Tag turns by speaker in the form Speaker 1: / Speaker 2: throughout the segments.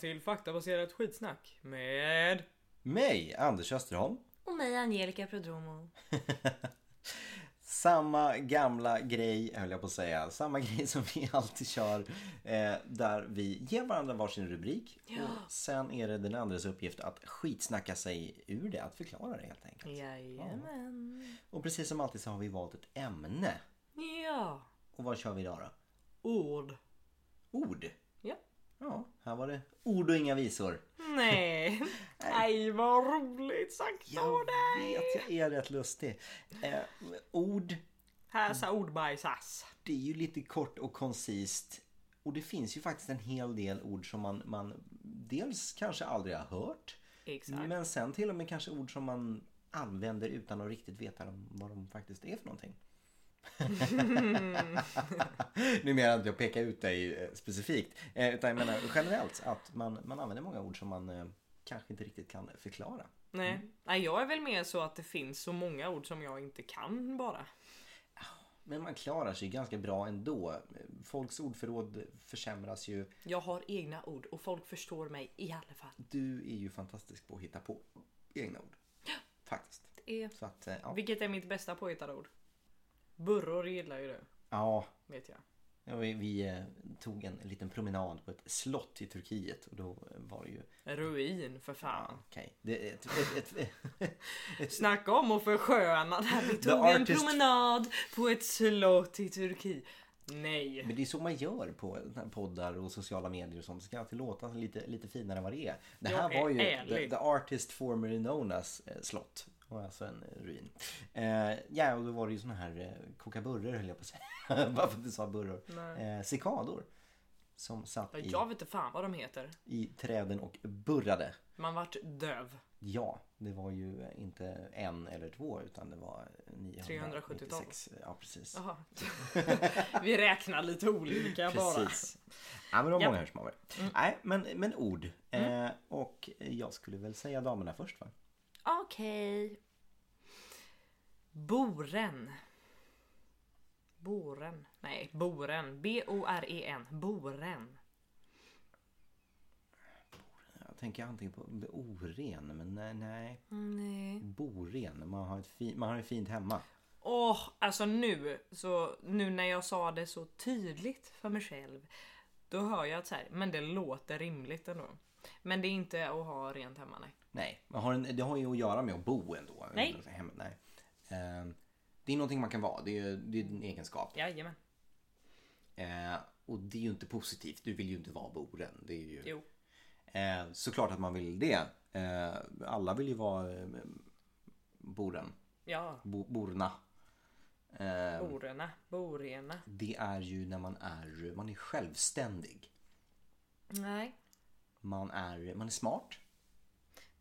Speaker 1: till faktabaserat skitsnack med...
Speaker 2: Mig, Anders Österholm.
Speaker 3: Och mig Angelica Prodromo.
Speaker 2: Samma gamla grej, höll jag på att säga. Samma grej som vi alltid kör. Eh, där vi ger varandra varsin rubrik. Och sen är det den andres uppgift att skitsnacka sig ur det. Att förklara det helt enkelt.
Speaker 3: Jajamän.
Speaker 2: Och precis som alltid så har vi valt ett ämne.
Speaker 3: Ja.
Speaker 2: Och vad kör vi idag då?
Speaker 3: Ord.
Speaker 2: Ord.
Speaker 3: Ja.
Speaker 2: Ja, här var det ord och inga visor.
Speaker 3: Nej. Nej, vad roligt sagt av
Speaker 2: Jag
Speaker 3: dig.
Speaker 2: vet, jag är rätt lustig. Eh, ord,
Speaker 3: Här sa ordbajsas.
Speaker 2: det är ju lite kort och koncist. Och det finns ju faktiskt en hel del ord som man, man dels kanske aldrig har hört.
Speaker 3: Exakt.
Speaker 2: Men sen till och med kanske ord som man använder utan att riktigt veta de- vad de faktiskt är för någonting. nu menar jag inte att peka ut dig eh, specifikt. eh, Utan jag menar generellt att man, man använder många ord som man eh, kanske inte riktigt kan förklara.
Speaker 3: Nej. Nej, jag är väl mer så att det finns så många ord som jag inte kan bara.
Speaker 2: Men man klarar sig ganska bra ändå. Folks ordförråd försämras ju.
Speaker 3: Jag har egna ord och folk förstår mig i alla fall.
Speaker 2: Du är ju fantastisk på att hitta på egna ord. Faktiskt.
Speaker 3: Det är...
Speaker 2: Så att, eh, ja.
Speaker 3: Vilket är mitt bästa påhittade ord? Burror gillar ju det,
Speaker 2: ja.
Speaker 3: vet jag.
Speaker 2: Ja, vi, vi eh, tog en liten promenad på ett slott i Turkiet och då var det ju...
Speaker 3: Ruin för fan.
Speaker 2: Okej. det är Ett, ett, ett,
Speaker 3: Snacka om att försköna det här. Vi tog en
Speaker 2: artist-
Speaker 3: promenad på ett slott i Turkiet. Nej.
Speaker 2: men det är så man gör på såna här poddar och sociala medier och sånt. Det ska alltid låta lite, lite finare än vad det är. Det här
Speaker 3: Jag är
Speaker 2: var ju
Speaker 3: ärlig.
Speaker 2: the, the Artist Formerly Known As eh, slott. Och alltså en eh, ruin. Eh, ja, och då var det ju såna här eh, kokaburror höll jag på att säga. Varför du sa burror.
Speaker 3: Nej.
Speaker 2: Eh, cikador. Som satt i,
Speaker 3: Jag vet inte fan vad de heter.
Speaker 2: i träden och burrade.
Speaker 3: Man vart döv.
Speaker 2: Ja, det var ju inte en eller två utan det var 996. Ja, precis.
Speaker 3: Jaha. Vi räknar lite olika bara.
Speaker 2: precis. Ja, Mm. men det var
Speaker 3: Japp.
Speaker 2: många hörsmål. Nej, men, men ord. Eh, och jag skulle väl säga damerna först va?
Speaker 3: Okej. Boren. Boren. Nej, Boren. B-O-R-E-N. E Boren.
Speaker 2: Jag tänker antingen på oren, men nej. nej.
Speaker 3: Nej.
Speaker 2: Boren, man har, ett fi, man har det fint hemma.
Speaker 3: Åh, alltså nu, så, nu när jag sa det så tydligt för mig själv. Då hör jag att så här, men det låter rimligt ändå. Men det är inte att ha rent hemma nej.
Speaker 2: Nej, man har en, det har ju att göra med att bo ändå.
Speaker 3: Nej.
Speaker 2: Hemma, nej. Eh, det är någonting man kan vara, det är, det är en egenskap.
Speaker 3: Jajamän.
Speaker 2: Eh, och det är ju inte positivt, du vill ju inte vara boren. Det är ju...
Speaker 3: Jo.
Speaker 2: Eh, såklart att man vill det. Eh, alla vill ju vara eh, boren.
Speaker 3: Ja.
Speaker 2: Bo, borna. Eh,
Speaker 3: Borena. Borena.
Speaker 2: det är ju när man är, man är självständig.
Speaker 3: Nej.
Speaker 2: Man är, man är smart.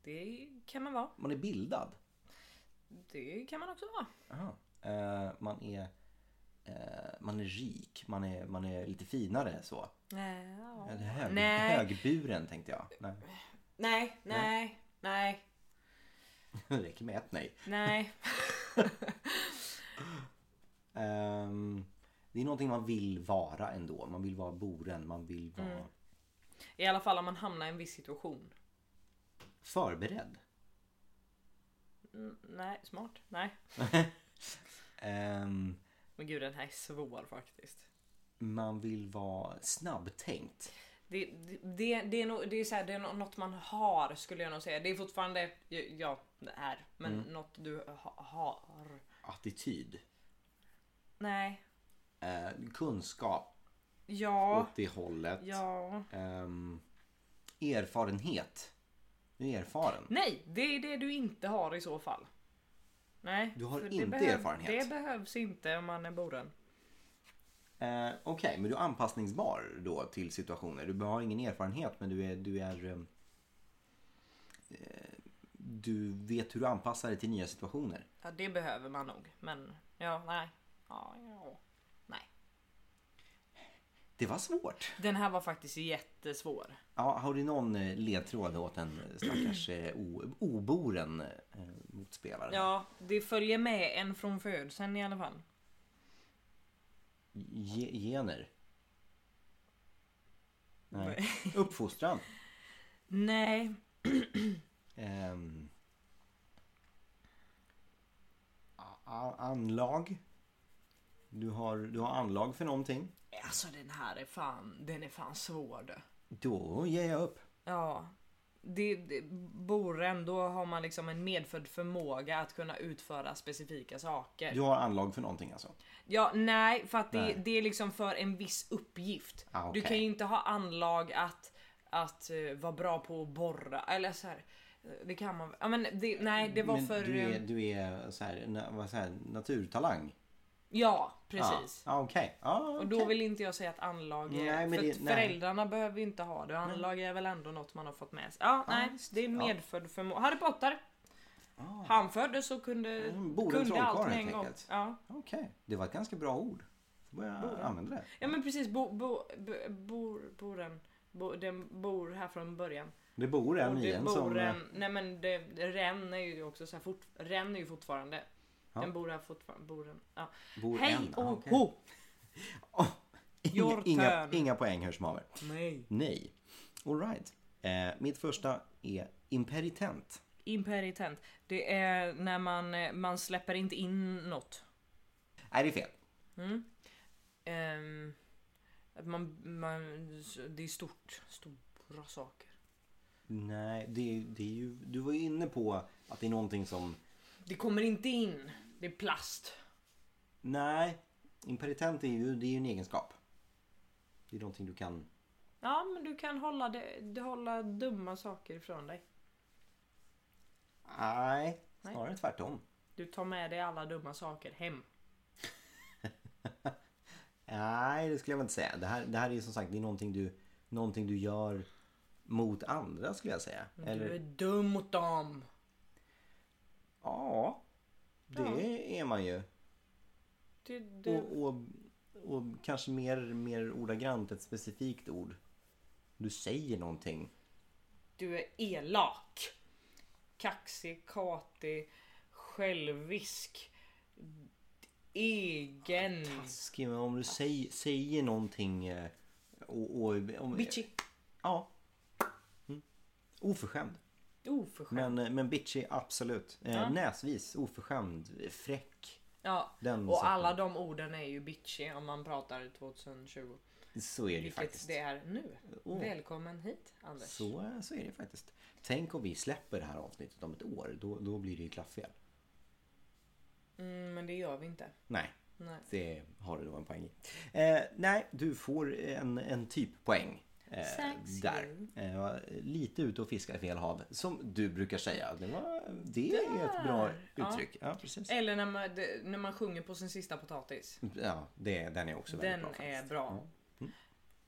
Speaker 3: Det kan man vara.
Speaker 2: Man är bildad.
Speaker 3: Det kan man också vara.
Speaker 2: Eh, man är eh, man är rik, man är, man är lite finare så.
Speaker 3: Ja.
Speaker 2: Eller hög,
Speaker 3: Nej.
Speaker 2: Högburen tänkte jag. Nej.
Speaker 3: Nej, nej, nej,
Speaker 2: Det räcker med ett nej.
Speaker 3: nej.
Speaker 2: Ehm, det är någonting man vill vara ändå. Man vill vara boren, man vill vara
Speaker 3: Mm. I alla fall om man hamnar i en viss situation.
Speaker 2: förberedd.
Speaker 3: Mm, nej, smart. Nej.
Speaker 2: Ehm,
Speaker 3: Men gud den här är svår faktiskt.
Speaker 2: man vill vara snabbtänkt.
Speaker 3: Det, det, det, det är, nog, det, är så här, det är nå- något man har skulle jag nog säga. Det är fortfarande, ja, det är. Men
Speaker 2: Mm.
Speaker 3: något du ha, har.
Speaker 2: Attityd.
Speaker 3: Nej.
Speaker 2: Eh, kunskap
Speaker 3: Ja.
Speaker 2: åt det hållet.
Speaker 3: Ja.
Speaker 2: Ehm, erfarenhet. Du är erfaren.
Speaker 3: Nej, det är det du inte har i så fall. Nej.
Speaker 2: Du har
Speaker 3: för det
Speaker 2: inte
Speaker 3: behöv-
Speaker 2: erfarenhet.
Speaker 3: Det behövs inte om man är boren.
Speaker 2: Eh, Okej, men du är anpassningsbar då till situationer. Du har ingen erfarenhet men du är... Du, är, eh, eh, du vet hur du anpassar dig till nya situationer.
Speaker 3: Ja, det behöver man nog. Men ja, nej. Ja, ja. Nej.
Speaker 2: Det var svårt.
Speaker 3: Den här var faktiskt jättesvår.
Speaker 2: Ja, har du någon eh, ledtråd åt en stackars eh, o, oboren eh, motspelare?
Speaker 3: Ja, det följer med en från födseln i alla fall.
Speaker 2: Ge, gener? Nej.
Speaker 3: Nej.
Speaker 2: Uppfostran?
Speaker 3: Nej.
Speaker 2: Ehm. a- a- anlag. Du har, du har anlag för någonting.
Speaker 3: Alltså den här är fan, den är fan svår du.
Speaker 2: Då ger jag upp.
Speaker 3: Ja. Det, det, Boren, då har man liksom en medfödd förmåga att kunna utföra specifika saker.
Speaker 2: Du har anlag för någonting alltså.
Speaker 3: Ja, nej, för att det,
Speaker 2: Nej.
Speaker 3: det är liksom för en viss uppgift.
Speaker 2: Ah,
Speaker 3: Du kan
Speaker 2: okej.
Speaker 3: ju inte ha anlag att, att eh, vara bra på att borra eller så här. eh, Det kan man ja, men det, Nej, det var
Speaker 2: Men
Speaker 3: för...
Speaker 2: Du är,
Speaker 3: eh,
Speaker 2: du är så här, na, vad säger jag, naturtalang.
Speaker 3: Ja, precis.
Speaker 2: Ja, ah, okej. Ja,
Speaker 3: Och
Speaker 2: okej.
Speaker 3: då vill inte jag säga att anlag är...
Speaker 2: Nej, men
Speaker 3: för
Speaker 2: det-
Speaker 3: att
Speaker 2: nej.
Speaker 3: föräldrarna behöver ju inte ha det. Anlag är väl ändå något man har fått med sig. Ja, nej. Det är en
Speaker 2: Ja.
Speaker 3: medfödd förmåga. Harry Potter.
Speaker 2: Ah.
Speaker 3: Han föddes och kunde,
Speaker 2: Mm, bor en
Speaker 3: kunde
Speaker 2: trollkarl,
Speaker 3: allt med en
Speaker 2: helt
Speaker 3: gång.
Speaker 2: enkelt.
Speaker 3: Ja.
Speaker 2: Okej, det var ett ganska bra ord. Får jag använda det?
Speaker 3: ja, men precis. Bo, bo, bo, bor, boren. Bo, den bor här från början.
Speaker 2: Det bor en
Speaker 3: Och
Speaker 2: i
Speaker 3: det
Speaker 2: en
Speaker 3: bor
Speaker 2: som... eh,
Speaker 3: en, nej men det, Ren är ju också så här fort, Ren är ju fortfarande.
Speaker 2: Ja.
Speaker 3: Den bor här fortfarande. Bor en, ja.
Speaker 2: Bor
Speaker 3: Hej
Speaker 2: en. Ah,
Speaker 3: och
Speaker 2: okej.
Speaker 3: hå!
Speaker 2: Åh,
Speaker 3: Your
Speaker 2: inga, inga,
Speaker 3: turn.
Speaker 2: inga poäng hörs som haver.
Speaker 3: Nej.
Speaker 2: Nej. Alright. Eh, mitt första är imperitent.
Speaker 3: Imperitent. Det är när man, eh, man släpper inte in något. Mm.
Speaker 2: Nej, det är fel.
Speaker 3: Ehm, att man, man, det är stort. Stora saker.
Speaker 2: Nej, det, det är ju... Du var ju inne på att det är någonting som...
Speaker 3: Det kommer inte in. Det är plast.
Speaker 2: Nej, imperitent är ju, det är ju en egenskap. Det är någonting du kan...
Speaker 3: Ja men du kan hålla, det, du hålla dumma saker ifrån dig.
Speaker 2: Nej,
Speaker 3: Nej.
Speaker 2: snarare tvärtom.
Speaker 3: Du tar med dig alla dumma saker hem.
Speaker 2: Nej, det skulle jag väl inte säga. Det här, det här är ju som sagt det är någonting, du, någonting du gör mot andra skulle jag säga.
Speaker 3: Du är
Speaker 2: Eller,
Speaker 3: dum mot dem.
Speaker 2: ja, det är man ju.
Speaker 3: Du, du,
Speaker 2: Och, och, och kanske mer, mer ordagrant ett specifikt ord. Du säger någonting.
Speaker 3: du är elak. Kaxig, katig, självisk. Egen.
Speaker 2: Skriv om du säger, säger någonting. eh, Och, och, om,
Speaker 3: Bitchy.
Speaker 2: Ja. Mm. Oförskämd.
Speaker 3: Oförskämd.
Speaker 2: Men, eh, men bitchy, absolut. Eh,
Speaker 3: Ja.
Speaker 2: Näsvis, oförskämd, fräck.
Speaker 3: Ja.
Speaker 2: Den
Speaker 3: Och
Speaker 2: sorten.
Speaker 3: alla de orden är ju bitchy om man pratar 2020.
Speaker 2: Så är det ju
Speaker 3: Vilket
Speaker 2: faktiskt.
Speaker 3: det är nu.
Speaker 2: Åh.
Speaker 3: Välkommen hit Anders.
Speaker 2: Så, så är det faktiskt. Tänk om vi släpper det här avsnittet om ett år. Då, då blir det ju klaffel.
Speaker 3: Mm, men det gör vi inte.
Speaker 2: Nej,
Speaker 3: Nej.
Speaker 2: det har du då en poäng i. Eh, nej, du får en, en typ poäng. Eh,
Speaker 3: Thanks
Speaker 2: där. Eh, jag var lite ute och fiska i fel hav. Som du brukar säga. Det, var, det är ett bra
Speaker 3: Ja.
Speaker 2: uttryck. Ja, precis.
Speaker 3: Eller när man, det- när man sjunger på sin sista potatis.
Speaker 2: Ja, det, den är också väldigt
Speaker 3: Den
Speaker 2: bra
Speaker 3: är
Speaker 2: faktiskt. Mm.
Speaker 3: bra.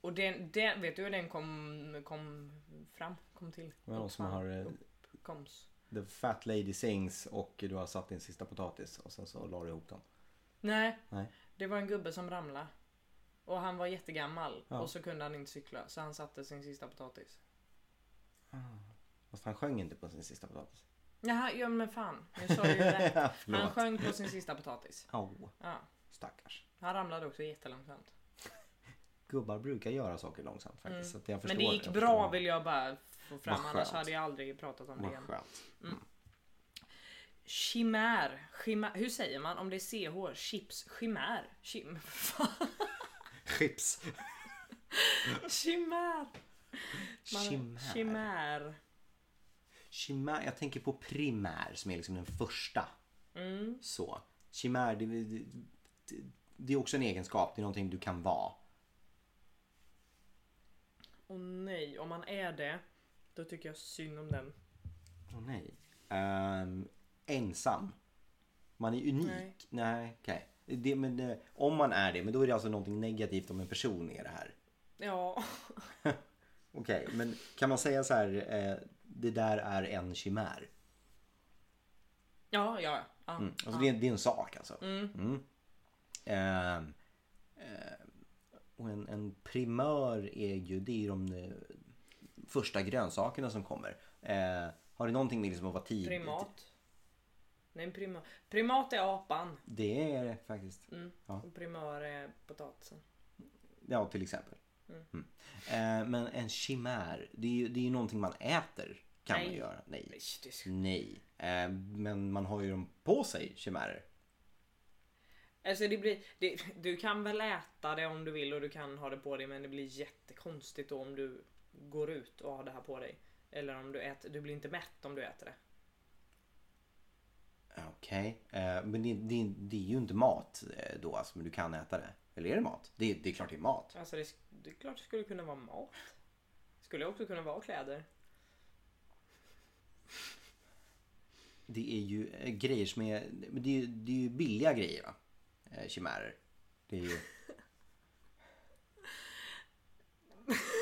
Speaker 3: Och den, den, vet du hur den kom, kom fram? Kom till?
Speaker 2: Det var någon som
Speaker 3: Kom
Speaker 2: har eh,
Speaker 3: Koms.
Speaker 2: The Fat Lady Sings och du har satt din sista potatis och sen så la du ihop dem.
Speaker 3: Nej,
Speaker 2: Nej.
Speaker 3: det var en gubbe som ramlade. Och han var jättegammal
Speaker 2: Ja.
Speaker 3: och så kunde han inte cykla så han satte sin sista potatis.
Speaker 2: Fast han sjöng inte på sin sista potatis.
Speaker 3: Jaha, ja men fan. Jag sa ju det.
Speaker 2: Förlåt.
Speaker 3: Han sjöng på sin sista potatis.
Speaker 2: Au,
Speaker 3: Ja.
Speaker 2: stackars.
Speaker 3: Han ramlade också jättelångsamt.
Speaker 2: Gubbar brukar göra saker långsamt faktiskt. Så att jag förstår
Speaker 3: Mm. Men det gick
Speaker 2: jag
Speaker 3: bra
Speaker 2: förstår.
Speaker 3: vill jag bara få fram
Speaker 2: Vad
Speaker 3: annars
Speaker 2: skönt.
Speaker 3: hade jag aldrig pratat om det
Speaker 2: Vad
Speaker 3: igen.
Speaker 2: skönt.
Speaker 3: Chimär. Chimär. Hur säger man om det är CH? Chips. Chimär. Chim. Fan.
Speaker 2: Chips.
Speaker 3: Chimär. Man-
Speaker 2: Chimär.
Speaker 3: Chimär.
Speaker 2: Chimär. Jag tänker på primär som är liksom den första.
Speaker 3: Mm.
Speaker 2: Så. Chimär, det, det, det, det är också en egenskap. Det är någonting du kan vara.
Speaker 3: Åh nej, om man är det, då tycker jag synd om den.
Speaker 2: Åh nej. Ehm, ensam. Man är unik.
Speaker 3: Nej.
Speaker 2: Nej, okej. Det, men, eh, om man är det, men då är det alltså någonting negativt om en person är det här.
Speaker 3: Ja,
Speaker 2: Okej, men kan man säga så här, eh, det där är en chimär?
Speaker 3: ja, ja. ja.
Speaker 2: Mm. Alltså det, är- det är en sak alltså. Mm. Ehm, ehm, och en, en primör är ju, det är ju de eh, första grönsakerna som kommer. Eh, har det någonting med liksom att vara tidigt?
Speaker 3: Primat. Nej, en primat. Primat är apan
Speaker 2: Det är det faktiskt. Ja.
Speaker 3: och primör är potatisen.
Speaker 2: Ja, till exempel.
Speaker 3: Mm.
Speaker 2: Eh, men en chimär, det är ju det är ju någonting man äter. Kan man
Speaker 3: Nej.
Speaker 2: göra. Nej.
Speaker 3: Ish, det är-
Speaker 2: Nej. Eh, men man har ju dem på sig, chimärer.
Speaker 3: Alltså det blir, det, du kan väl äta det om du vill och du kan ha det på dig men det blir jättekonstigt då om du går ut och har det här på dig. Eller om du äter, du blir inte mätt om du äter det.
Speaker 2: Okej. Eh, men det, det, det är ju inte mat eh, då alltså, men du kan äta det. Eller är det mat? Det, det är klart det är mat.
Speaker 3: Alltså det, det är klart det skulle kunna vara mat. Skulle också kunna vara kläder.
Speaker 2: Det är ju eh, grejer som är... men Det är, ju- det är ju billiga grejer va? Eh, chimärer. Det är ju...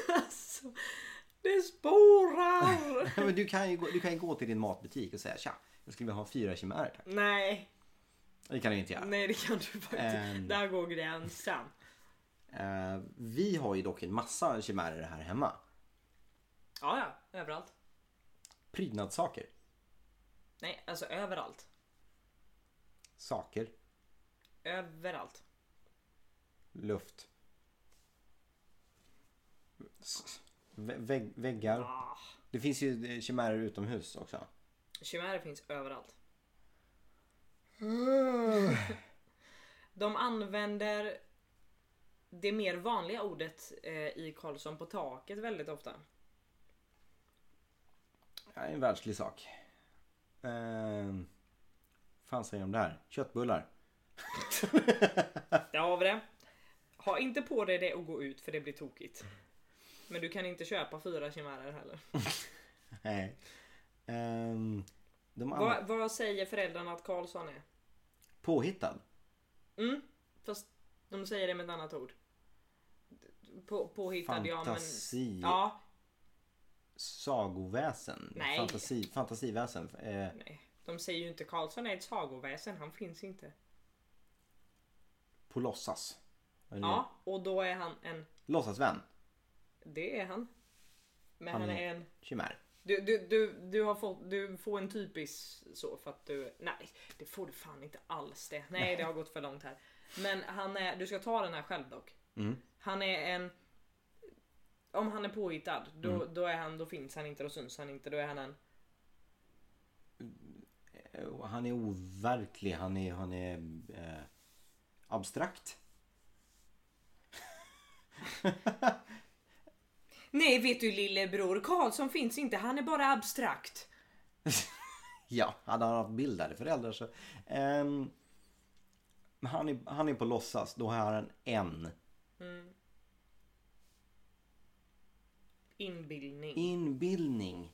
Speaker 3: Alltså, det spårar!
Speaker 2: Men du, kan ju gå, du kan ju gå till din matbutik och säga tja, jag skulle vilja ha fyra chimärer tack.
Speaker 3: nej,
Speaker 2: Det kan du inte göra.
Speaker 3: nej det kan du faktiskt
Speaker 2: Ehm.
Speaker 3: Där går gränsen.
Speaker 2: Eh, vi har ju dock en massa chimärer här hemma.
Speaker 3: Ja, ja, överallt.
Speaker 2: Prydnadssaker.
Speaker 3: Nej, alltså överallt.
Speaker 2: Saker.
Speaker 3: Överallt.
Speaker 2: Luft. S- vä- Vägg, väggar.
Speaker 3: Ah.
Speaker 2: Det finns ju eh, chimärer utomhus också.
Speaker 3: Chimärer finns överallt. De använder det mer vanliga ordet eh, i Karlsson på taket väldigt ofta.
Speaker 2: Det är en världslig sak. Uh, fan säger de där? Köttbullar.
Speaker 3: Där har vi det. Ha inte på dig det och gå ut för det blir tokigt. Men du kan inte köpa fyra chimärer heller.
Speaker 2: Nej. Ehm, de andra...
Speaker 3: Vad, vad säger föräldrarna att Karlsson är?
Speaker 2: Påhittad.
Speaker 3: Mm, fast de säger det med ett annat ord. På, påhittad ja men...
Speaker 2: Fantasi.
Speaker 3: Ja,
Speaker 2: Sagoväsen.
Speaker 3: Nej.
Speaker 2: Fantasi, fantasiväsen. Eh,
Speaker 3: nej. De säger ju inte Karlsson är ett sagoväsen, han finns inte.
Speaker 2: på låtsas. Eller
Speaker 3: Ja, och då är han en...
Speaker 2: Låtsasvän.
Speaker 3: Det är han. Men han,
Speaker 2: Han
Speaker 3: är en...
Speaker 2: Chimär.
Speaker 3: Du, du, du, du, har fått, du får en typisk så för att du... Nej, det får du fan inte alls det. Nej, det har gått för långt här. Men han är... Du ska ta den här själv dock.
Speaker 2: Mm.
Speaker 3: Han är en... Om han är påhittad, då, då, är han, då finns han inte, då syns han inte, då är han en...
Speaker 2: Eh, Han är overklig. Han är, han är eh, abstrakt.
Speaker 3: Nej, vet du lillebror, Karlsson finns inte, han är bara abstrakt.
Speaker 2: Ja, hade han haft bildade föräldrar så. Ehm, men han är, han är på låtsas. Då har han en
Speaker 3: Inbildning.
Speaker 2: inbildning.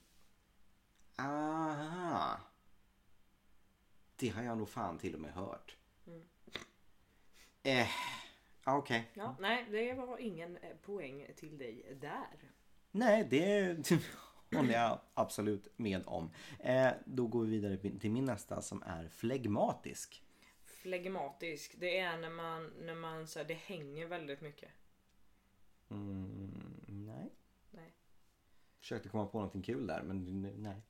Speaker 2: Aha. Det har jag nog fan till och med hört. Eh, okej.
Speaker 3: Ja, nej, det var ingen eh, poäng till dig där.
Speaker 2: Nej, det håller jag absolut med om. Eh, då går vi vidare till min nästa som är flegmatisk.
Speaker 3: Flegmatisk, det är när man, när man så här, det hänger väldigt mycket.
Speaker 2: Mm, nej.
Speaker 3: Nej.
Speaker 2: Försökte komma på någonting kul där, men nej.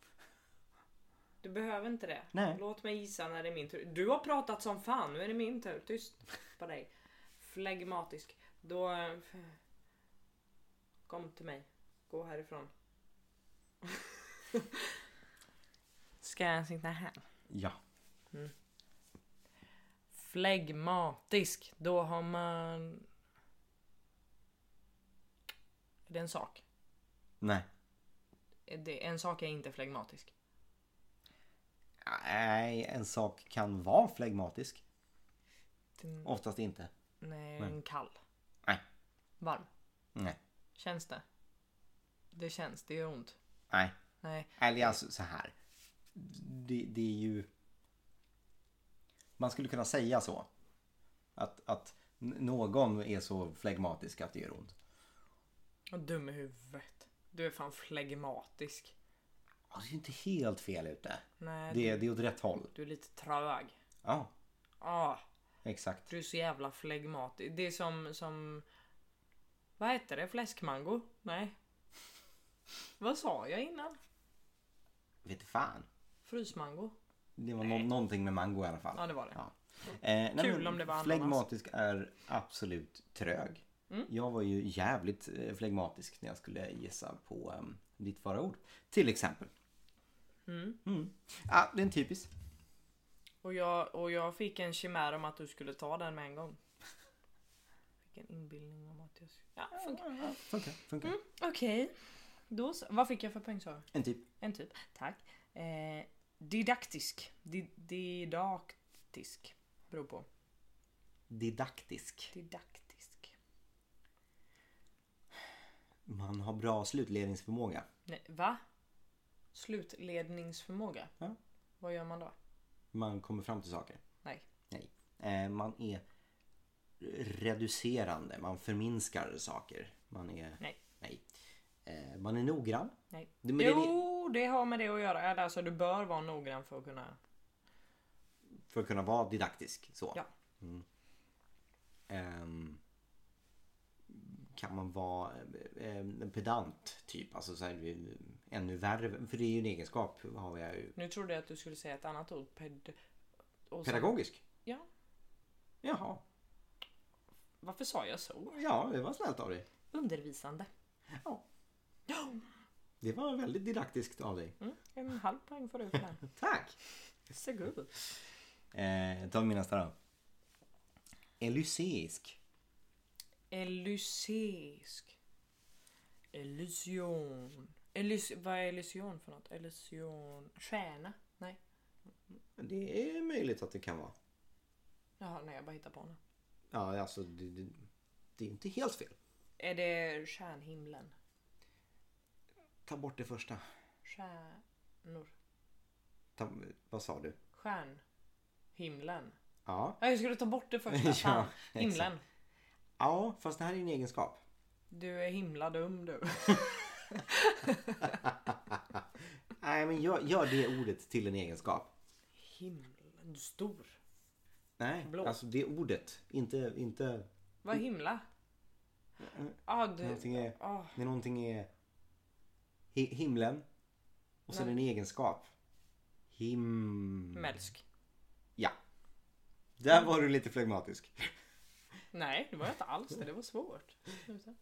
Speaker 3: Du behöver inte det.
Speaker 2: Nej.
Speaker 3: Låt mig gissa när det är min tur. Du har pratat som fan, nu är det min tur. Tyst på dig. Flegmatisk. Då... eh, Kom till mig. Gå härifrån. Ska jag sitta här?
Speaker 2: Ja.
Speaker 3: Flegmatisk, då har man... Är det en sak?
Speaker 2: Nej.
Speaker 3: Är det- En sak är inte flegmatisk.
Speaker 2: Nej, en sak kan vara flegmatisk.
Speaker 3: Den-
Speaker 2: Oftast inte.
Speaker 3: Nej, en kall.
Speaker 2: Nej.
Speaker 3: Varm.
Speaker 2: Nej.
Speaker 3: Känns det? Det känns, det gör ont.
Speaker 2: Nej.
Speaker 3: Nej.
Speaker 2: Eller alltså så här. Det, det är ju... Man skulle kunna säga så. Att, att n- någon är så flegmatisk att det gör ont.
Speaker 3: Vad dum i huvudet. Du är fan flegmatisk.
Speaker 2: Ja, det är ju inte helt fel ute.
Speaker 3: Nej,
Speaker 2: Det, det är åt rätt håll.
Speaker 3: du är lite trög.
Speaker 2: Ja,
Speaker 3: Ah,
Speaker 2: exakt.
Speaker 3: du är så jävla flegmatisk. Det är som, som... Vad heter det? Fläskmango? Nej. Vad sa jag innan?
Speaker 2: Vet fan.
Speaker 3: Frysmango?
Speaker 2: Det var nå- någonting med mango i alla fall.
Speaker 3: Ja, det var det.
Speaker 2: Ja. Eh, nej,
Speaker 3: Kul
Speaker 2: men
Speaker 3: om det var ananas.
Speaker 2: Flegmatisk är absolut trög.
Speaker 3: Mm.
Speaker 2: Jag var ju jävligt eh, flegmatisk när jag skulle gissa på um, ditt förra Till exempel. Mm. Ah, det är en typisk.
Speaker 3: Och jag, och jag fick en chimär om att du skulle ta den med en gång. Fick en inbildning om att jag skulle... Ja, funkar.
Speaker 2: Funkar, funkar.
Speaker 3: Mm. Okej. Då så. Vad fick jag för poäng sa du?
Speaker 2: En typ.
Speaker 3: En typ. Tack. Eh, didaktisk. Di- didaktisk. Beror på.
Speaker 2: Didaktisk.
Speaker 3: Didaktisk.
Speaker 2: Man har bra slutledningsförmåga.
Speaker 3: Nej, va? Slutledningsförmåga.
Speaker 2: Ja.
Speaker 3: Vad gör man då?
Speaker 2: Man kommer fram till saker.
Speaker 3: Nej.
Speaker 2: Nej. Eh, man är reducerande. Man förminskar saker. Man är...
Speaker 3: Nej.
Speaker 2: Nej. Eh, man är noggrann.
Speaker 3: Nej.
Speaker 2: Det- men det är det-
Speaker 3: jo, det har med det att göra. Eller, Alltså, du bör vara noggrann för att kunna...
Speaker 2: För att kunna vara didaktisk. Så. Mm.
Speaker 3: Ja.
Speaker 2: Ehm, kan man vara eh, en pedant typ? Alltså så här, det är ju ännu värre. För det är ju en egenskap. Har jag ju.
Speaker 3: Nu trodde jag att du skulle säga ett annat ord. Ped... och sen-
Speaker 2: Pedagogisk?
Speaker 3: Ja.
Speaker 2: Jaha.
Speaker 3: Varför sa jag så?
Speaker 2: Ja, det var snällt av dig.
Speaker 3: Undervisande.
Speaker 2: Ja.
Speaker 3: Ja.
Speaker 2: Det var väldigt didaktiskt av dig.
Speaker 3: Mm, en halv poäng får du för den.
Speaker 2: Tack!
Speaker 3: Så god.
Speaker 2: Eh, ta min nästa då. Elyseisk.
Speaker 3: Elyseisk. Elysion. Elys vad är Elysion för något? Elysion. Stjärna? Nej.
Speaker 2: Det är möjligt att det kan vara.
Speaker 3: Jaha, nej jag bara hittar på nu.
Speaker 2: Ja, alltså det, det, det är inte helt fel.
Speaker 3: Är det stjärnhimlen?
Speaker 2: Ta bort det första.
Speaker 3: Stjärnor?
Speaker 2: Ta, vad sa du?
Speaker 3: Stjärnhimlen?
Speaker 2: Ja.
Speaker 3: Ja, jag skulle ta bort det första. Fan.
Speaker 2: Ja, exakt.
Speaker 3: Himlen.
Speaker 2: Ja, fast det här är en egenskap.
Speaker 3: Du är himla dum du.
Speaker 2: Nej, men gör, gör det ordet till en egenskap.
Speaker 3: Himlen. Stor.
Speaker 2: Nej,
Speaker 3: Blå.
Speaker 2: alltså det ordet. Inte, inte...
Speaker 3: Vad är himla? Ah, du...
Speaker 2: Mm. Någonting är-
Speaker 3: Ah,
Speaker 2: När någonting är hi, himlen och sen
Speaker 3: Nej.
Speaker 2: en egenskap. Him...
Speaker 3: mälsk.
Speaker 2: Ja. Där var du lite flegmatisk.
Speaker 3: Nej, det var jag inte alls det. Det var svårt. Sluta.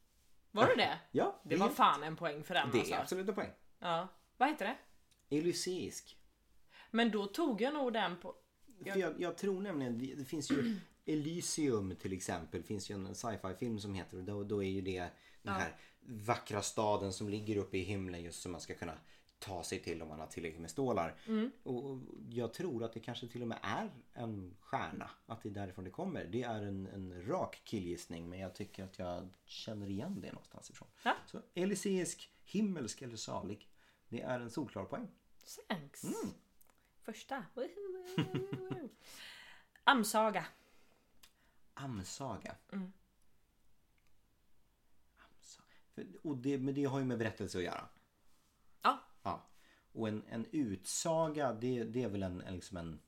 Speaker 3: Var det det?
Speaker 2: Ja,
Speaker 3: Det var fan en poäng för den
Speaker 2: det är
Speaker 3: alltså.
Speaker 2: absolut en poäng.
Speaker 3: Ja. Vad heter det?
Speaker 2: Elyseisk.
Speaker 3: Men då tog jag nog den på...
Speaker 2: För jag, jag tror nämligen, det- det finns ju Elysium till exempel, finns ju en sci-fi film som heter och då, då är ju det den här vackra staden som ligger uppe i himlen just som man ska kunna ta sig till om man har tillräckligt med stålar. Och och jag tror att det kanske till och med är en stjärna, att det är därifrån det kommer. Det är en, en rak killgissning men jag tycker att jag känner igen det någonstans ifrån.
Speaker 3: Ja.
Speaker 2: Så elyseisk, himmelsk eller salig, det är en solklar poäng.
Speaker 3: Thanks.
Speaker 2: Mm.
Speaker 3: Första. Amsaga.
Speaker 2: Amsaga.
Speaker 3: Mm.
Speaker 2: Amsa- För, och det, men det har ju med berättelse att göra.
Speaker 3: Ja.
Speaker 2: Ja. Och en, en utsaga det, det är väl en, en, liksom en,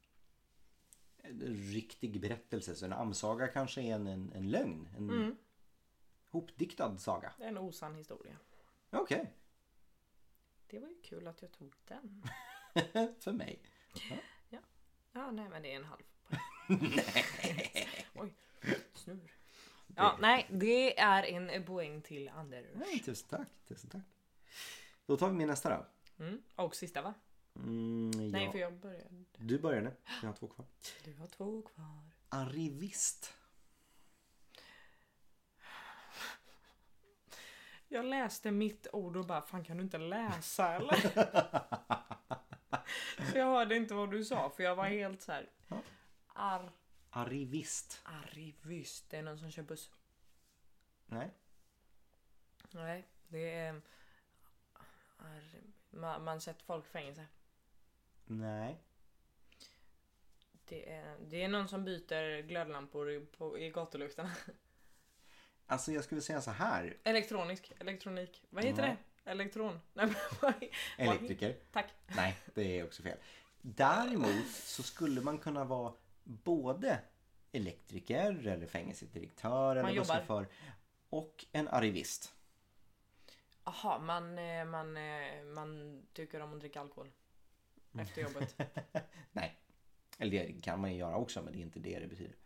Speaker 2: en riktig berättelse. Så en amsaga kanske är en, en, en lögn. En
Speaker 3: Mm.
Speaker 2: hopdiktad saga.
Speaker 3: Det är en osann historia.
Speaker 2: Okej,
Speaker 3: Det var ju kul att jag tog den.
Speaker 2: för mig.
Speaker 3: Ja, nej men det är en halv poäng. Oj, snur. Ja, nej, det är en poäng till Anders.
Speaker 2: Nej, tusen tack, tusen tack. Då tar vi min nästa då.
Speaker 3: Mm. Och sista va?
Speaker 2: Mm,
Speaker 3: Nej,
Speaker 2: ja.
Speaker 3: för jag började.
Speaker 2: Du börjar nu. Jag har två kvar.
Speaker 3: Du har två kvar.
Speaker 2: Arrivist.
Speaker 3: Jag läste mitt ord och bara fan kan du inte läsa eller? så jag hörde inte vad du sa för jag var helt så här. Ar-
Speaker 2: Arrivist.
Speaker 3: arrivist, det är någon som kör buss.
Speaker 2: Nej.
Speaker 3: Nej, det är... Ar- man, man sätter folk i fängelse.
Speaker 2: Nej.
Speaker 3: Det är, det är någon som byter glödlampor i, på, i gatulyktarna.
Speaker 2: Alltså jag skulle säga så här.
Speaker 3: Elektronisk, elektronik. Vad heter
Speaker 2: Nej.
Speaker 3: det? Elektron? Nej, men vad he- vad he-
Speaker 2: Elektriker.
Speaker 3: Tack.
Speaker 2: Nej, det är också fel. Däremot så skulle man kunna vara både elektriker eller fängelsedirektör eller
Speaker 3: Man jobbar.
Speaker 2: busschaufför och en arrivist.
Speaker 3: Jaha, man, eh, man, eh, man tycker om att dricka alkohol. Efter jobbet.
Speaker 2: Nej, eller det kan man ju göra också men det är inte det det betyder.
Speaker 3: Det-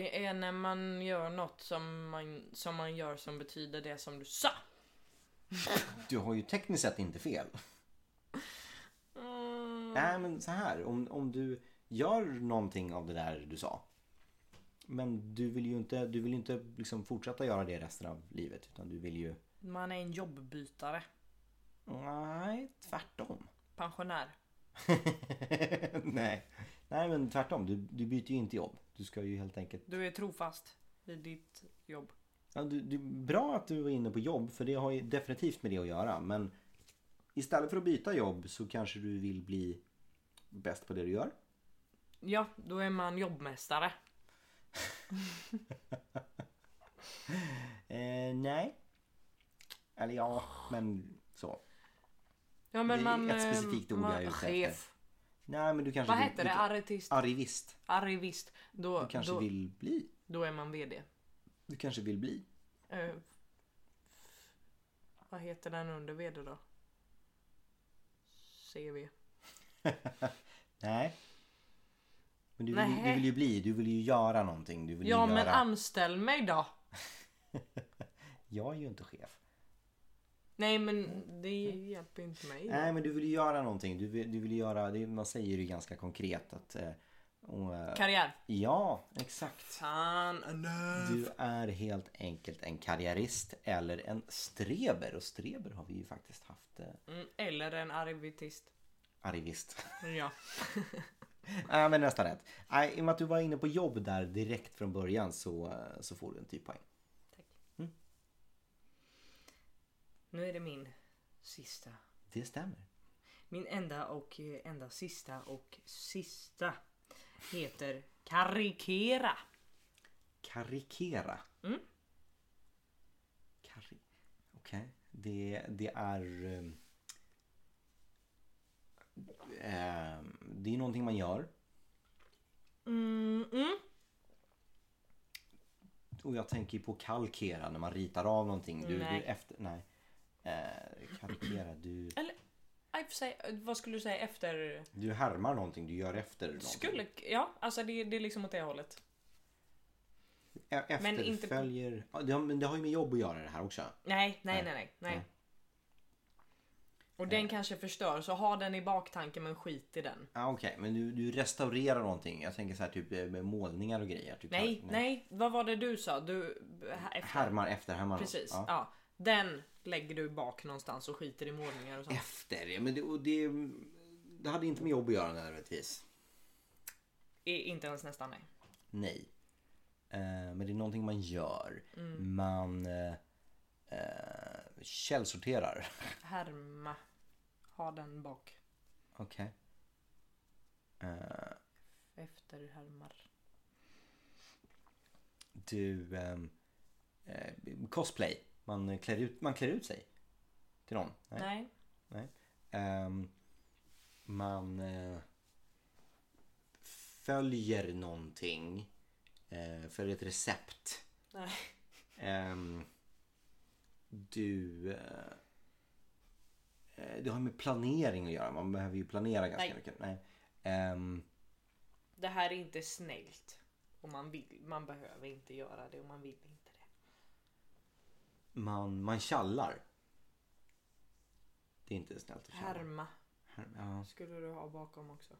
Speaker 3: Det är när man gör något som man, som man gör som betyder det som du sa.
Speaker 2: Du har ju tekniskt sett inte fel.
Speaker 3: Mm.
Speaker 2: Nej men så här, om, om du gör någonting av det där du sa. Men du vill ju inte, du vill ju inte liksom fortsätta göra det resten av livet. Utan du vill ju...
Speaker 3: Man är en jobbbytare.
Speaker 2: Nej, tvärtom.
Speaker 3: Pensionär.
Speaker 2: Nej. Nej men tvärtom, du, du byter ju inte jobb. Du ska ju helt enkelt...
Speaker 3: Du är trofast i ditt jobb.
Speaker 2: Ja, du, du, bra att du var inne på jobb för det har ju definitivt med det att göra. Men istället för att byta jobb så kanske du vill bli bäst på det du gör.
Speaker 3: Ja, då är man jobbmästare.
Speaker 2: Eh, nej. Eller ja, men så.
Speaker 3: Ja, men
Speaker 2: Det är
Speaker 3: man,
Speaker 2: ett
Speaker 3: eh,
Speaker 2: specifikt ord
Speaker 3: man,
Speaker 2: jag är ute
Speaker 3: Chef.
Speaker 2: Nej men du kanske
Speaker 3: Vad
Speaker 2: vill-
Speaker 3: heter
Speaker 2: du
Speaker 3: det?
Speaker 2: kan-
Speaker 3: Artist?
Speaker 2: Arrivist.
Speaker 3: Arrivist. Då,
Speaker 2: Du kanske
Speaker 3: då,
Speaker 2: vill bli.
Speaker 3: då är man VD.
Speaker 2: Du kanske vill bli.
Speaker 3: Eh, vad heter den under VD då? CV.
Speaker 2: Nej. Men du vill, ju- du
Speaker 3: Nähä.
Speaker 2: vill ju bli. Du vill ju göra någonting. Du vill
Speaker 3: Ja,
Speaker 2: ju
Speaker 3: men
Speaker 2: göra.
Speaker 3: anställ mig då.
Speaker 2: Jag är ju inte chef.
Speaker 3: Nej, men det hjälper inte mig.
Speaker 2: Nej men du vill ju göra någonting. Du vill, du vill ju göra. Det, man säger ju ganska konkret att. Eh, och, eh,
Speaker 3: Karriär.
Speaker 2: ja exakt.
Speaker 3: Fan, äh, nej.
Speaker 2: Du är helt enkelt en karriärist eller en streber. Och streber har vi ju faktiskt haft. Eh,
Speaker 3: Mm, eller en arrivitist.
Speaker 2: arrivist.
Speaker 3: Ja.
Speaker 2: Nej men nästan rätt. Nej, I och med att du var inne på jobb där direkt från början så, eh, så får du en typ poäng.
Speaker 3: Mm. Nu är det min sista.
Speaker 2: Det stämmer.
Speaker 3: Min enda och eh, enda sista och sista heter karikera.
Speaker 2: Karikera.
Speaker 3: Mm.
Speaker 2: Kari- Okej. Det, det är... ehm, ehm, det är någonting man gör.
Speaker 3: Mm, mm.
Speaker 2: Och jag tänker på kalkera när man ritar av någonting. Du,
Speaker 3: Nej.
Speaker 2: du efter... Nej. Eh, karikera. Du,
Speaker 3: Eller i och för sig, eh, vad skulle du säga efter?
Speaker 2: du härmar någonting. Du gör efter någonting.
Speaker 3: Skulle, ja, alltså det, det är liksom åt det hållet.
Speaker 2: E-
Speaker 3: Men inte på-
Speaker 2: Efterföljer... Ja, det, har, men det har ju med jobb att göra det här också.
Speaker 3: Nej, nej,
Speaker 2: Nej.
Speaker 3: nej, nej. nej.
Speaker 2: Nej.
Speaker 3: Och den kanske förstör, så ha den i baktanken men skit i den.
Speaker 2: Ah, Okej, men du, du restaurerar någonting. Jag tänker så här typ eh, med målningar och grejer. Du
Speaker 3: Nej,
Speaker 2: kan-
Speaker 3: nej, vad var det du sa? Du, här- efter.
Speaker 2: Härmar efter, härmar
Speaker 3: Precis, ja.
Speaker 2: Ja.
Speaker 3: Den lägger du bak någonstans och skiter i målningar och sånt.
Speaker 2: Efter, ja, men det, och det, det hade inte med jobb att göra nödvändigtvis.
Speaker 3: I, inte ens nästan nej.
Speaker 2: Nej. Eh, men det är någonting man gör.
Speaker 3: Mm.
Speaker 2: Man eh, eh, källsorterar.
Speaker 3: Härma. Ha den bak.
Speaker 2: Okej. Eh,
Speaker 3: Efter härmar.
Speaker 2: du, ehm, eh, cosplay. Man klär, ut, man klär ut sig. Till någon. Nej.
Speaker 3: Nej.
Speaker 2: Ehm, man eh, följer någonting. Eh, följer ett recept.
Speaker 3: Nej.
Speaker 2: Ehm, du... Eh, eh, det har med planering att göra. Man behöver ju planera ganska
Speaker 3: Nej.
Speaker 2: mycket. Nej. Ehm,
Speaker 3: Det här är inte snällt. Och man, vill, man behöver inte göra det och man vill inte det.
Speaker 2: man, man tjallar. Det är inte snällt att tjalla.
Speaker 3: Härma
Speaker 2: Här- Ja.
Speaker 3: skulle du ha bakom också.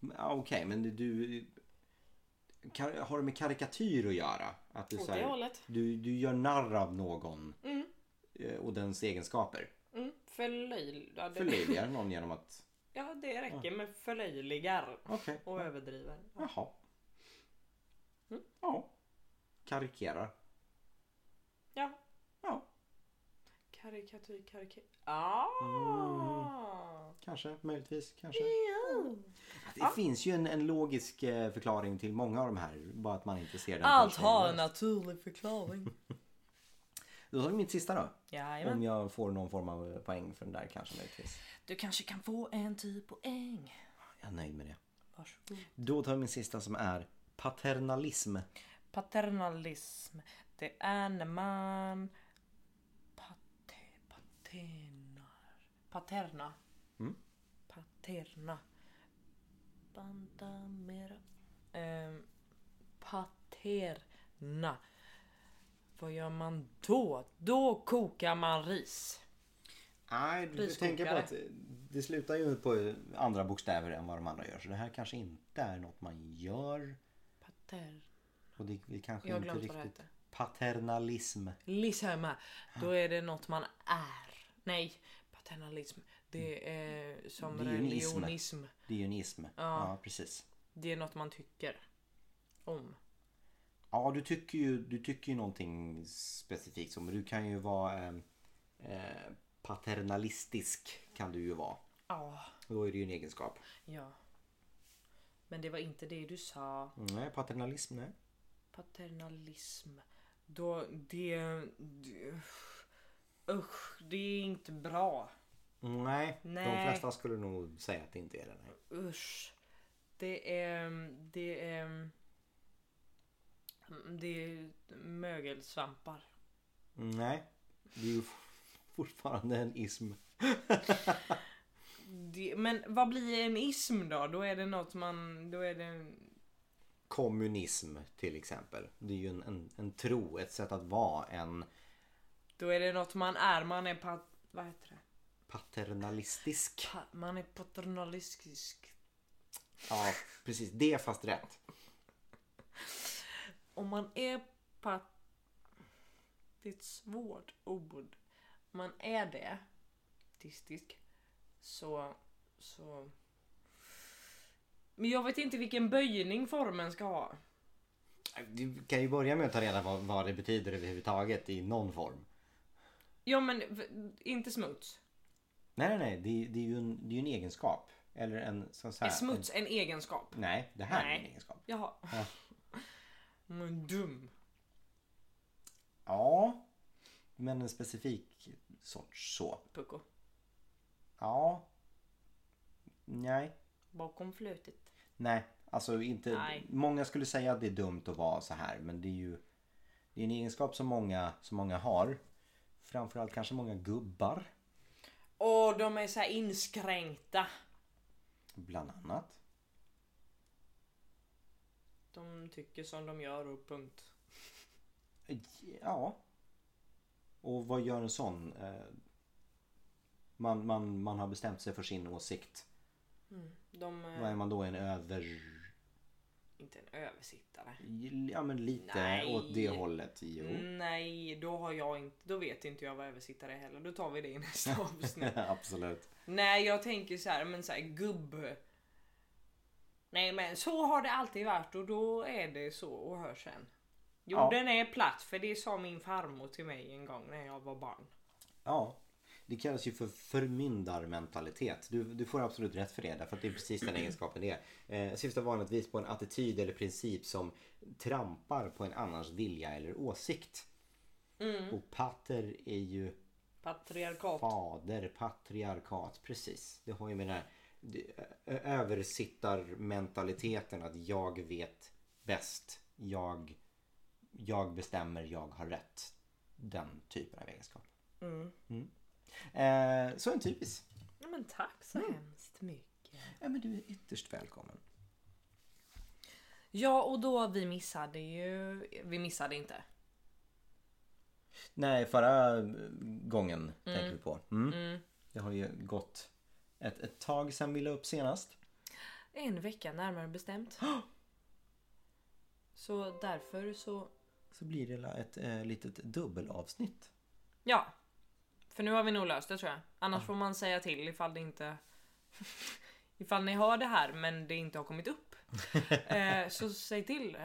Speaker 2: Ja, Okej, men du- du... Kar, har det med karikatyr att göra? Att du,
Speaker 3: Åt
Speaker 2: så
Speaker 3: det
Speaker 2: här,
Speaker 3: hållet.
Speaker 2: du, du gör narr av någon
Speaker 3: Mm.
Speaker 2: eh, och dens egenskaper.
Speaker 3: Mm. Förlöj... Ja, det,
Speaker 2: Förlöjligar någon genom att...
Speaker 3: ja, det räcker med förlöjligar
Speaker 2: Okej.
Speaker 3: och överdriver.
Speaker 2: Jaha.
Speaker 3: Mm.
Speaker 2: Ja. Karikerar.
Speaker 3: Ja,
Speaker 2: Ja,
Speaker 3: karikatyr, karikatyr. Ah!
Speaker 2: kanske. Möjligtvis. Kanske.
Speaker 3: Mm.
Speaker 2: Det finns ju en, en logisk eh, förklaring till många av de här. Bara att man inte ser den.
Speaker 3: Allt
Speaker 2: första
Speaker 3: har
Speaker 2: gången.
Speaker 3: en naturlig förklaring.
Speaker 2: Då tar vi mitt sista då. Om
Speaker 3: Jajamän.
Speaker 2: jag får någon form av eh, poäng för den där kanske möjligtvis.
Speaker 3: Du kanske kan få en till poäng.
Speaker 2: Jag är nöjd med det.
Speaker 3: Varsågod.
Speaker 2: Då tar vi min sista som är paternalism.
Speaker 3: Paternalism. Det är när man... Pate, paternar. Paterna.
Speaker 2: Mm.
Speaker 3: Paterna. Banta mera. Ehm, paterna. Vad gör man då? Då kokar man ris.
Speaker 2: Nej, du
Speaker 3: Riskokare.
Speaker 2: tänker på att det slutar ju på andra bokstäver än vad de andra gör. Så det här kanske inte är något man gör.
Speaker 3: Pater.
Speaker 2: Och det, vi kanske
Speaker 3: Jag har
Speaker 2: inte
Speaker 3: glömt vad det
Speaker 2: riktigt...
Speaker 3: heter.
Speaker 2: Paternalism.
Speaker 3: Lisma. Då är det något man är. Nej, paternalism. Det är som
Speaker 2: Det är ju en ism.
Speaker 3: religionism.
Speaker 2: Det är ju en ism. Ja. precis.
Speaker 3: Det är något man tycker om.
Speaker 2: Ja, du tycker ju, du tycker ju någonting specifikt. Som, du kan ju vara eh, eh, paternalistisk. Kan du ju vara.
Speaker 3: Ja.
Speaker 2: Då är det ju en egenskap.
Speaker 3: Ja. Men det var inte det du sa.
Speaker 2: Nej, paternalism nej.
Speaker 3: Paternalism. Då, det... det usch, det är inte bra.
Speaker 2: Nej,
Speaker 3: Nej.
Speaker 2: de flesta skulle nog säga att det inte är det. Nej.
Speaker 3: Usch. Det är... Det är... Det är mögelsvampar.
Speaker 2: nej, det är ju fortfarande en ism.
Speaker 3: Det, men vad blir en ism då? Då är det något man... Då är det... en-
Speaker 2: Kommunism till exempel. Det är ju en, en, en tro, ett sätt att vara en
Speaker 3: Då är det något man är. Man är pat... Vad heter det?
Speaker 2: paternalistisk.
Speaker 3: Pa, man är paternalistisk.
Speaker 2: Ja, precis. Det är fast rätt.
Speaker 3: Om man är pat... Det är ett svårt ord. Om man är det, tistisk, så... så... Men jag vet inte vilken böjning formen ska ha.
Speaker 2: Du kan ju börja med att ta reda på vad det betyder överhuvudtaget i någon form.
Speaker 3: Ja men v- inte smuts.
Speaker 2: Nej, nej, nej. Det, det är ju en, det är ju en egenskap. Eller en sån så här.
Speaker 3: Är smuts en egenskap?
Speaker 2: En, nej, det här är en
Speaker 3: Nej.
Speaker 2: egenskap.
Speaker 3: Jaha.
Speaker 2: Ja.
Speaker 3: Men dum.
Speaker 2: Ja, men en specifik sorts så.
Speaker 3: Pucko.
Speaker 2: Ja. Nej.
Speaker 3: Bakom flötet.
Speaker 2: Nej, alltså inte...
Speaker 3: Nej.
Speaker 2: Många skulle säga att det är dumt att vara så här men det är ju det är en egenskap som många, som många har. Framförallt kanske många gubbar,
Speaker 3: Åh, de är så här inskränkta.
Speaker 2: bland annat.
Speaker 3: De tycker som de gör och punkt.
Speaker 2: Ja. Och vad gör en sån? Eh, Man, man, man har bestämt sig för sin åsikt.
Speaker 3: De eh, är
Speaker 2: Vad är man då? En över...
Speaker 3: inte en översittare.
Speaker 2: Ja men lite
Speaker 3: Nej. Mm.
Speaker 2: åt det hållet. Jo.
Speaker 3: Nej, då har jag inte, då vet inte jag vad översittare är heller. Då tar vi det i nästa avsnitt.
Speaker 2: Absolut.
Speaker 3: Nej, jag tänker så här, men så här gubb. Nej, men så har det alltid varit och då är det så och hör sen. Jorden är platt för det sa min farmor till mig en gång när jag var barn.
Speaker 2: Ja. Det kallas ju för förmyndarmentalitet. Du, du får absolut rätt för det därför att det är precis den egenskapen det är. Eh, syftar vanligtvis på en attityd eller princip som trampar på en annans vilja eller åsikt. Och pater är ju
Speaker 3: Patriarkat.
Speaker 2: fader, patriarkat, precis. Det har ju med den här det- ö- översittarmentaliteten att jag vet bäst. Jag, jag bestämmer, jag har rätt. Den typen av egenskap. Mm. Eh, så en typisk.
Speaker 3: Ja, men tack så hemskt mycket.
Speaker 2: Ja, men du är ytterst välkommen.
Speaker 3: Ja och då vi missade ju, vi missade inte.
Speaker 2: Nej, förra eh, gången tänker vi på. Mm. Det har ju gått ett, ett tag sedan vi la upp senast.
Speaker 3: En vecka närmare bestämt. så därför så,
Speaker 2: Så blir det ett eh, litet dubbelavsnitt.
Speaker 3: ja. För nu har vi nog löst det tror jag. Annars får man säga till ifall det inte... ifall ni hör det här men det inte har kommit upp. eh, så säg till.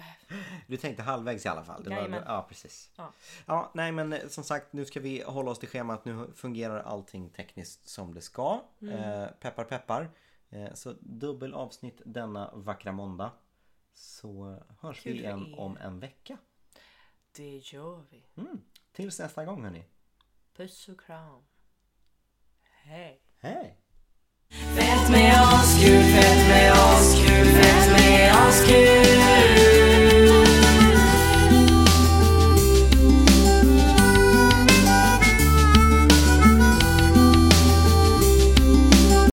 Speaker 2: Du tänkte halvvägs i alla fall? Det var,
Speaker 3: Jajamän.
Speaker 2: ja, precis.
Speaker 3: Ja.
Speaker 2: Ja, nej men eh, som sagt nu ska vi hålla oss till schemat. Nu fungerar allting tekniskt som det ska.
Speaker 3: Mm.
Speaker 2: Eh, peppar peppar. Eh, så dubbel avsnitt denna vackra måndag. Så eh, hörs
Speaker 3: Kul
Speaker 2: vi
Speaker 3: för
Speaker 2: igen
Speaker 3: er.
Speaker 2: om en vecka.
Speaker 3: Det gör vi.
Speaker 2: Mm. Tills nästa gång hörni.
Speaker 3: Puss och kram. Hej.
Speaker 2: Hej!
Speaker 4: Fett med oss, kul, fett med oss, kul, fett med oss, kul.